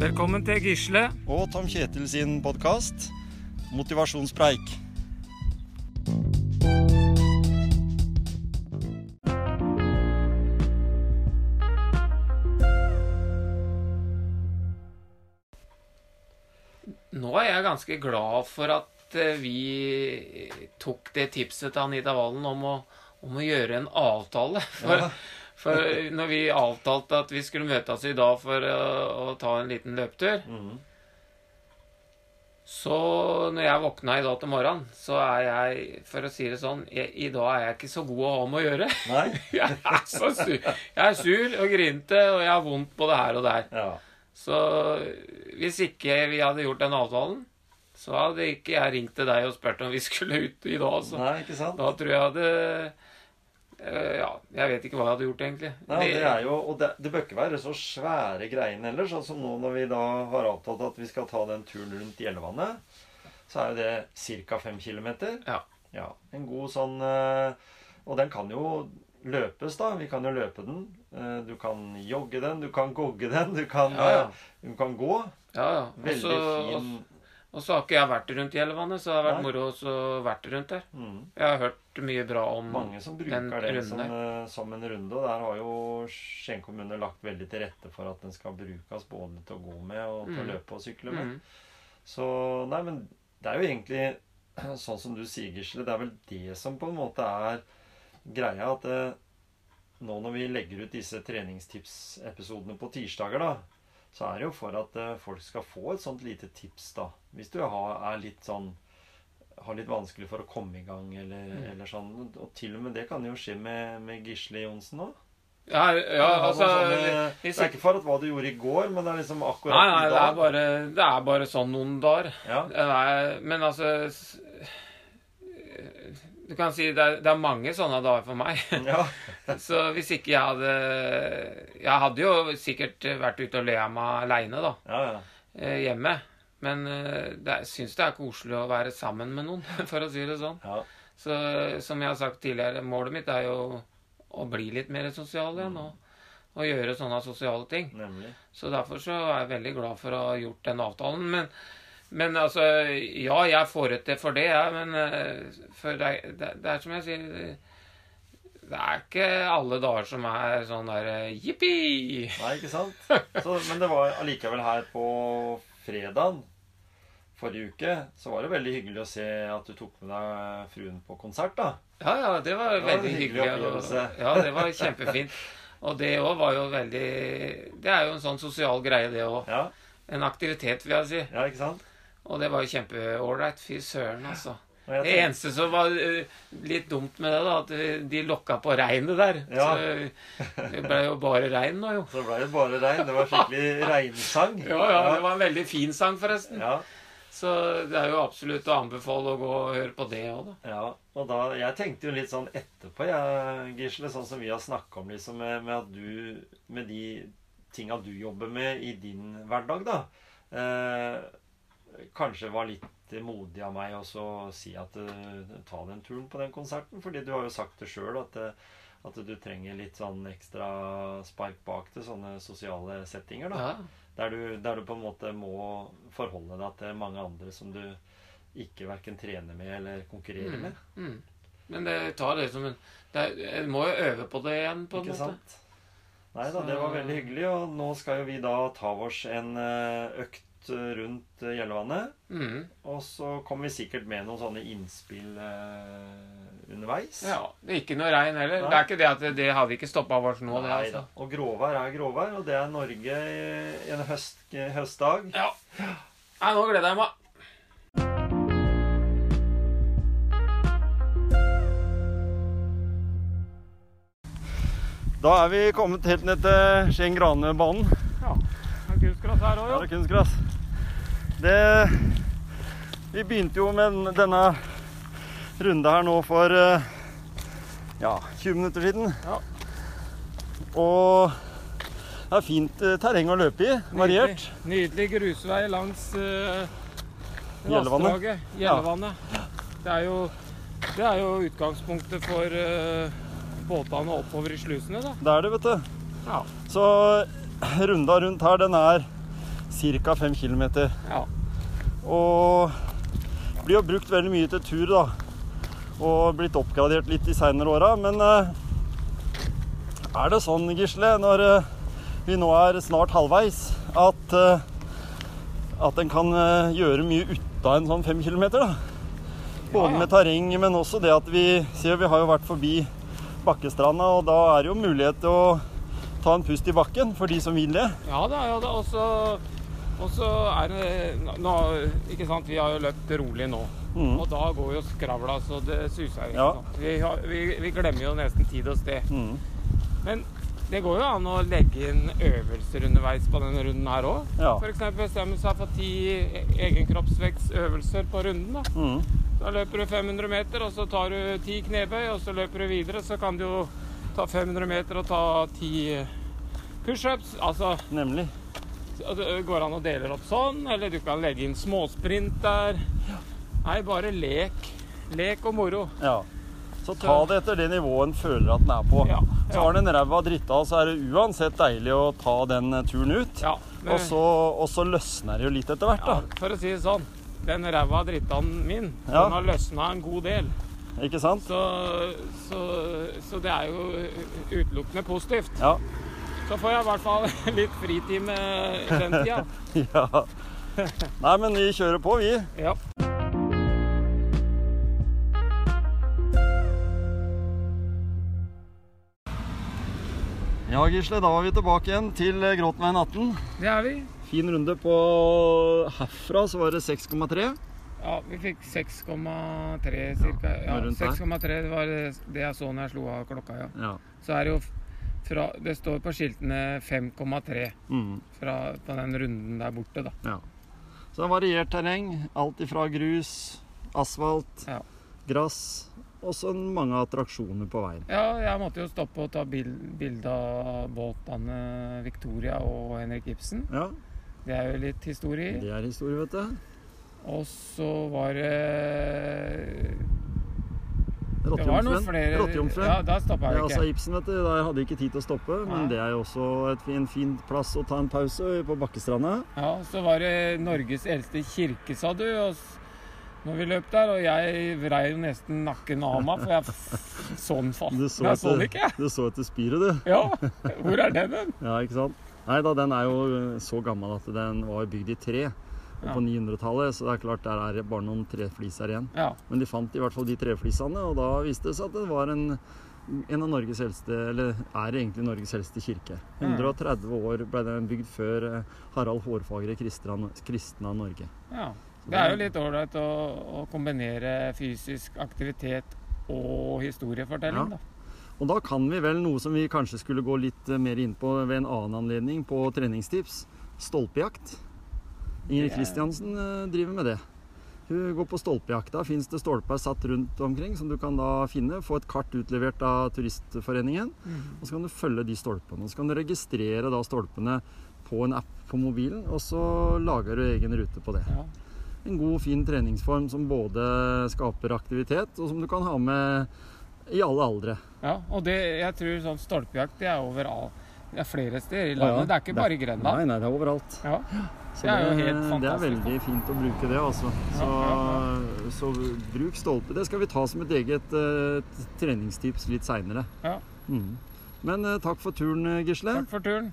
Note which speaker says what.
Speaker 1: Velkommen til Gisle.
Speaker 2: og Tom Kjetil sin podkast Motivasjonspreik.
Speaker 3: Nå er jeg ganske glad for at eh, vi tok det tipset til Anita Valen om å, om å gjøre en avtale. For, for når vi avtalte at vi skulle møtes i dag for eh, å ta en liten løpetur Så når jeg våkna i dag til morgenen, så er jeg, for å si det sånn jeg, I dag er jeg ikke så god å ha med å gjøre.
Speaker 2: Nei?
Speaker 3: Jeg er så sur. Jeg er sur og grinete, og jeg har vondt både her og der.
Speaker 2: Ja.
Speaker 3: Så hvis ikke vi hadde gjort den avtalen, så hadde ikke jeg ringt til deg og spurt om vi skulle ut i dag. Så.
Speaker 2: Nei, ikke sant?
Speaker 3: Da tror jeg hadde eh, Ja, jeg vet ikke hva jeg hadde gjort, egentlig.
Speaker 2: Nei, og det er jo, og det, det bør ikke være så svære greiene heller. Sånn som nå når vi da har avtalt at vi skal ta den turen rundt Gjellevannet, så er jo det ca. 5 km.
Speaker 3: Ja.
Speaker 2: ja. En god sånn eh, Og den kan jo løpes, da. Vi kan jo løpe den. Eh, Du kan jogge den, du kan gogge den, du kan,
Speaker 3: Ja, ja.
Speaker 2: eh, Du kan gå.
Speaker 3: ja, ja. Og
Speaker 2: Veldig
Speaker 3: så-
Speaker 2: fin
Speaker 3: Og så har ikke jeg vært rundt Gjellevannet, så det har vært
Speaker 2: Nei.
Speaker 3: moro også å vært rundt der.
Speaker 2: mm.
Speaker 3: Jeg har hørt mye bra om
Speaker 2: Mange som
Speaker 3: sånn Den
Speaker 2: bruker det
Speaker 3: runden
Speaker 2: som, eh, som en runde. Og der har jo Skien kommune lagt veldig til rette for at den skal brukes både til å gå med og til å
Speaker 3: Mm.
Speaker 2: løpe og sykle med.
Speaker 3: mm,
Speaker 2: Så nei, men det er jo egentlig sånn som du sier, Gisle. Det er vel det som på en måte er greia. At eh, nå når vi legger ut disse treningstipsepisodene på tirsdager, da, så er det jo for at eh, folk skal få et sånt lite tips, da. Hvis du har, er litt sånn har litt vanskelig for å komme i gang, eller,
Speaker 3: Mm.
Speaker 2: eller sånn. Og til og med det kan jo skje med, med Gisle Johnsen òg.
Speaker 3: ja, ja, altså
Speaker 2: det er ikke for at hva du gjorde i går, men det er liksom akkurat
Speaker 3: Nei, nei,
Speaker 2: i
Speaker 3: det er
Speaker 2: dag.
Speaker 3: bare, det er bare sånn noen dager.
Speaker 2: Ja,
Speaker 3: Nei, men altså s- Du kan si det er, det er mange sånne dager for meg.
Speaker 2: ja,
Speaker 3: Så hvis ikke jeg hadde Jeg hadde jo sikkert vært ute og le av meg aleine, da.
Speaker 2: ja, ja.
Speaker 3: eh, Hjemme. Men eh, det er- syns det er koselig å være sammen med noen, for å si det sånn.
Speaker 2: ja.
Speaker 3: Så som jeg har sagt tidligere, målet mitt er jo å bli litt mer sosial igjen. Og, og gjøre sånne sosiale ting.
Speaker 2: Nemlig.
Speaker 3: Så derfor så er jeg veldig glad for å ha gjort den avtalen. Men, men altså Ja, jeg får ut det for det, jeg, men eh, for det, er- det, det er som jeg sier Det er ikke alle dager som er sånn der eh, jippi!
Speaker 2: Nei, ikke sant? Så, men det var allikevel her på fredagen forrige uke, så var det veldig hyggelig å se at du tok med deg fruen på konsert, da.
Speaker 3: Ja, ja, det var
Speaker 2: Det var en
Speaker 3: veldig hyggelig.
Speaker 2: hyggelig
Speaker 3: og,
Speaker 2: opplevelse.
Speaker 3: ja, det var kjempefint. Og det òg var jo veldig Det er jo en sånn sosial greie, det òg.
Speaker 2: Ja,
Speaker 3: En aktivitet, vil jeg si.
Speaker 2: ja ikke sant?
Speaker 3: Og det var jo kjempeålreit. Fy søren, altså.
Speaker 2: Og jeg
Speaker 3: Det eneste som var eh, litt dumt med det, da, at eh, de lokka på regnet der.
Speaker 2: Ja.
Speaker 3: Så eh, det ble jo bare regn nå, jo.
Speaker 2: tenkte- så ble det bare regn. Det var skikkelig regnsang.
Speaker 3: Ja, ja, det var en veldig fin sang, forresten.
Speaker 2: ja,
Speaker 3: Så det er jo absolutt å anbefale å gå og høre på det òg, da.
Speaker 2: ja. Og da, jeg tenkte jo litt sånn etterpå, jeg, Gisle, sånn som vi har snakka om, liksom, med, med at du Med de tinga du jobber med i din hverdag, da. Eh, kanskje var litt modig av meg også å si at eh, ta den turen på den konserten. Fordi du har jo sagt det sjøl at, eh, at du trenger litt sånn ekstra spark bak til sånne sosiale settinger. da.
Speaker 3: Ja.
Speaker 2: Der du, der du på en måte må forholde deg til mange andre som du ikke verken trener med eller konkurrerer
Speaker 3: Mm.
Speaker 2: med.
Speaker 3: Mm. Men det tar det som en det er, En må jo øve på det igjen, på en
Speaker 2: Ikke
Speaker 3: måte.
Speaker 2: sant? Nei da,
Speaker 3: Så-
Speaker 2: det var veldig hyggelig. Og nå skal jo vi da ta oss en eh, økt eh, rundt eh, Gjellevannet.
Speaker 3: Mm.
Speaker 2: Og så kommer vi sikkert med noen sånne innspill eh, underveis.
Speaker 3: Ja. Det er ikke noe regn heller.
Speaker 2: Nei.
Speaker 3: Det er ikke det at det, det hadde ikke stoppa oss nå, det,
Speaker 2: Nei
Speaker 3: altså.
Speaker 2: da. Og gråvær er gråvær, og det er Norge eh, en høst, høstdag.
Speaker 3: Ja. Nei, nå gleder jeg meg.
Speaker 2: Da er vi kommet helt ned til Skien Granebanen.
Speaker 3: Ja. Det er kunstgras her
Speaker 2: Ja,
Speaker 3: òg,
Speaker 2: det er kunstgras. Det Vi begynte jo med den- denne runde her nå for eh, ja, 20 minutter siden.
Speaker 3: Ja.
Speaker 2: Og det er fint eh, terreng å løpe i. Variert.
Speaker 3: Nydelig, nydelig grusvei langs eh,
Speaker 2: Gjellevannet.
Speaker 3: vassdraget. Gjellevannet. Det, er jo, det er jo utgangspunktet for eh, båtene oppover i slusene, da.
Speaker 2: Det er det, vet du.
Speaker 3: Ja.
Speaker 2: Så runda rundt her, den er Ca. 5 km.
Speaker 4: Ja.
Speaker 2: Og blir jo brukt veldig mye til tur, da. Og blitt oppgradert litt de seinere åra. Men eh, er det sånn, Gisle, når eh, vi nå er snart halvveis, at, eh, at en kan eh, gjøre mye ut av en sånn fem kilometer, da? Både
Speaker 4: Ja, ja.
Speaker 2: med terreng, men også det at vi ser Vi har jo vært forbi Bakkestranda, og da er det jo mulighet til å ta en pust i bakken for de som vil det.
Speaker 4: Ja da, ja da. Og så- Og så er det nå, Ikke sant, vi har jo løpt rolig nå.
Speaker 2: Mhm.
Speaker 4: Og da går jo skravla så det suser. Ikke
Speaker 2: Ja.
Speaker 4: sant? Vi, har, vi, vi glemmer jo nesten tid og sted.
Speaker 2: Mhm.
Speaker 4: Men det går jo an å legge inn øvelser underveis på denne runden her òg.
Speaker 2: Ja.
Speaker 4: F.eks. bestemme seg for ti e- egenkroppsvektsøvelser på runden. Da.
Speaker 2: Mhm.
Speaker 4: da løper du 500 meter, og så tar du ti knebøy, og så løper du videre. Så kan du jo ta 500 meter og ta ti pushups. Altså
Speaker 2: Nemlig.
Speaker 4: og Det Altså, går an å dele opp sånn, eller du kan legge inn småsprint der. Nei, bare lek. Lek og moro.
Speaker 2: Ja. Så ta det etter det nivået en føler at den er på.
Speaker 4: Ja,
Speaker 2: Så
Speaker 4: ja.
Speaker 2: har den ræva drita, så er det uansett deilig å ta den eh, turen ut.
Speaker 4: Ja, men-
Speaker 2: Og, så, og så løsner det jo litt etter hvert, da.
Speaker 4: ja, for å si det sånn. Den ræva drittanen min,
Speaker 2: Ja.
Speaker 4: den har løsna en god del.
Speaker 2: Ikke sant?
Speaker 4: Så, så, så det er jo utelukkende positivt.
Speaker 2: Ja.
Speaker 4: Så får jeg i hvert fall litt fritid med den tida.
Speaker 2: ja. Nei, men vi kjører på, vi.
Speaker 4: Ja.
Speaker 2: Ja, Gisle, da var vi tilbake igjen til eh, Gråtenveien 18.
Speaker 4: Det er vi.
Speaker 2: Fin runde på herfra, så var det 6,3.
Speaker 4: Ja, vi fikk 6,3 cirka. Ja,
Speaker 2: rundt der.
Speaker 4: 6,3 var det jeg så når jeg slo av klokka, ja.
Speaker 2: Ja.
Speaker 4: så er det jo f- fra Det står på skiltene 5,3
Speaker 2: Mm,
Speaker 4: fra- på den runden der borte, da.
Speaker 2: ja. Så det er variert terreng. Alt ifra grus, asfalt,
Speaker 4: Ja.
Speaker 2: gress og så mange attraksjoner på veien.
Speaker 4: Ja, jeg måtte jo stoppe og ta bil, bilde av båtene Victoria og Henrik Ibsen.
Speaker 2: Ja,
Speaker 4: Det er jo litt historie.
Speaker 2: det er historie, vet du.
Speaker 4: Og så var det Det var noen flere
Speaker 2: Rottejomfruen. Rottejomfruen.
Speaker 4: Ja, der stoppa
Speaker 2: Det er
Speaker 4: jeg
Speaker 2: altså
Speaker 4: ikke.
Speaker 2: Ibsen, vet du. Der hadde jeg ikke tid til å stoppe. Men
Speaker 4: Nei.
Speaker 2: det er jo også et, en fin plass å ta en pause på Bakkestranda.
Speaker 4: Ja, så var det Norges eldste kirke, sa du. og s- når vi løp der, og jeg vrei jo nesten nakken av meg, for jeg f- så den faen.
Speaker 2: Du
Speaker 4: Jeg
Speaker 2: så
Speaker 4: så den
Speaker 2: etter,
Speaker 4: ikke, jeg.
Speaker 2: du så etter spiret, du.
Speaker 4: Ja, hvor er den hen?
Speaker 2: Ja, ikke sant? Nei da, den er jo eh, så gammel at den var bygd i tre. Og
Speaker 4: Ja.
Speaker 2: på 900-tallet, så det er klart der er det bare noen trefliser igjen.
Speaker 4: Ja.
Speaker 2: Men de fant i hvert fall de treflisene, og da viste det seg at det var en, en av Norges eldste, eller er egentlig Norges eldste kirke.
Speaker 4: Mm.
Speaker 2: 130 år ble den bygd før eh, Harald Hårfagre kristna, kristna Norge.
Speaker 4: Ja. Det er jo litt ålreit å, å kombinere fysisk aktivitet og historiefortelling,
Speaker 2: Ja.
Speaker 4: da.
Speaker 2: Og da kan vi vel noe som vi kanskje skulle gå litt eh, mer inn på ved en annen anledning på treningstips. Stolpejakt.
Speaker 4: Det
Speaker 2: Ingrid
Speaker 4: er-
Speaker 2: Kristiansen eh, driver med det. Hun går på stolpejakt. Da fins det stolper satt rundt omkring som du kan da finne. Få et kart utlevert av Turistforeningen. Og så kan du følge de stolpene. Og så kan du registrere da stolpene på en app på mobilen, og så lager du egen rute på det.
Speaker 4: Ja.
Speaker 2: En god, fin treningsform som både skaper aktivitet, og som du kan ha med i alle aldre.
Speaker 4: ja. Og det, jeg tror sånn stolpejakt det er overalt. Det er flere steder i
Speaker 2: Ja, ja.
Speaker 4: landet. Det er ikke bare i Grenland.
Speaker 2: Nei, nei, det er overalt.
Speaker 4: Ja.
Speaker 2: Så
Speaker 4: Det er jo helt
Speaker 2: det er
Speaker 4: fantastisk,
Speaker 2: veldig fint å bruke det, altså. Så,
Speaker 4: Ja,
Speaker 2: så bruk stolpe. Det skal vi ta som et eget eh, t- treningstips litt seinere.
Speaker 4: Ja.
Speaker 2: Mm. Men eh, takk for turen, Gisle.
Speaker 4: Takk for turen.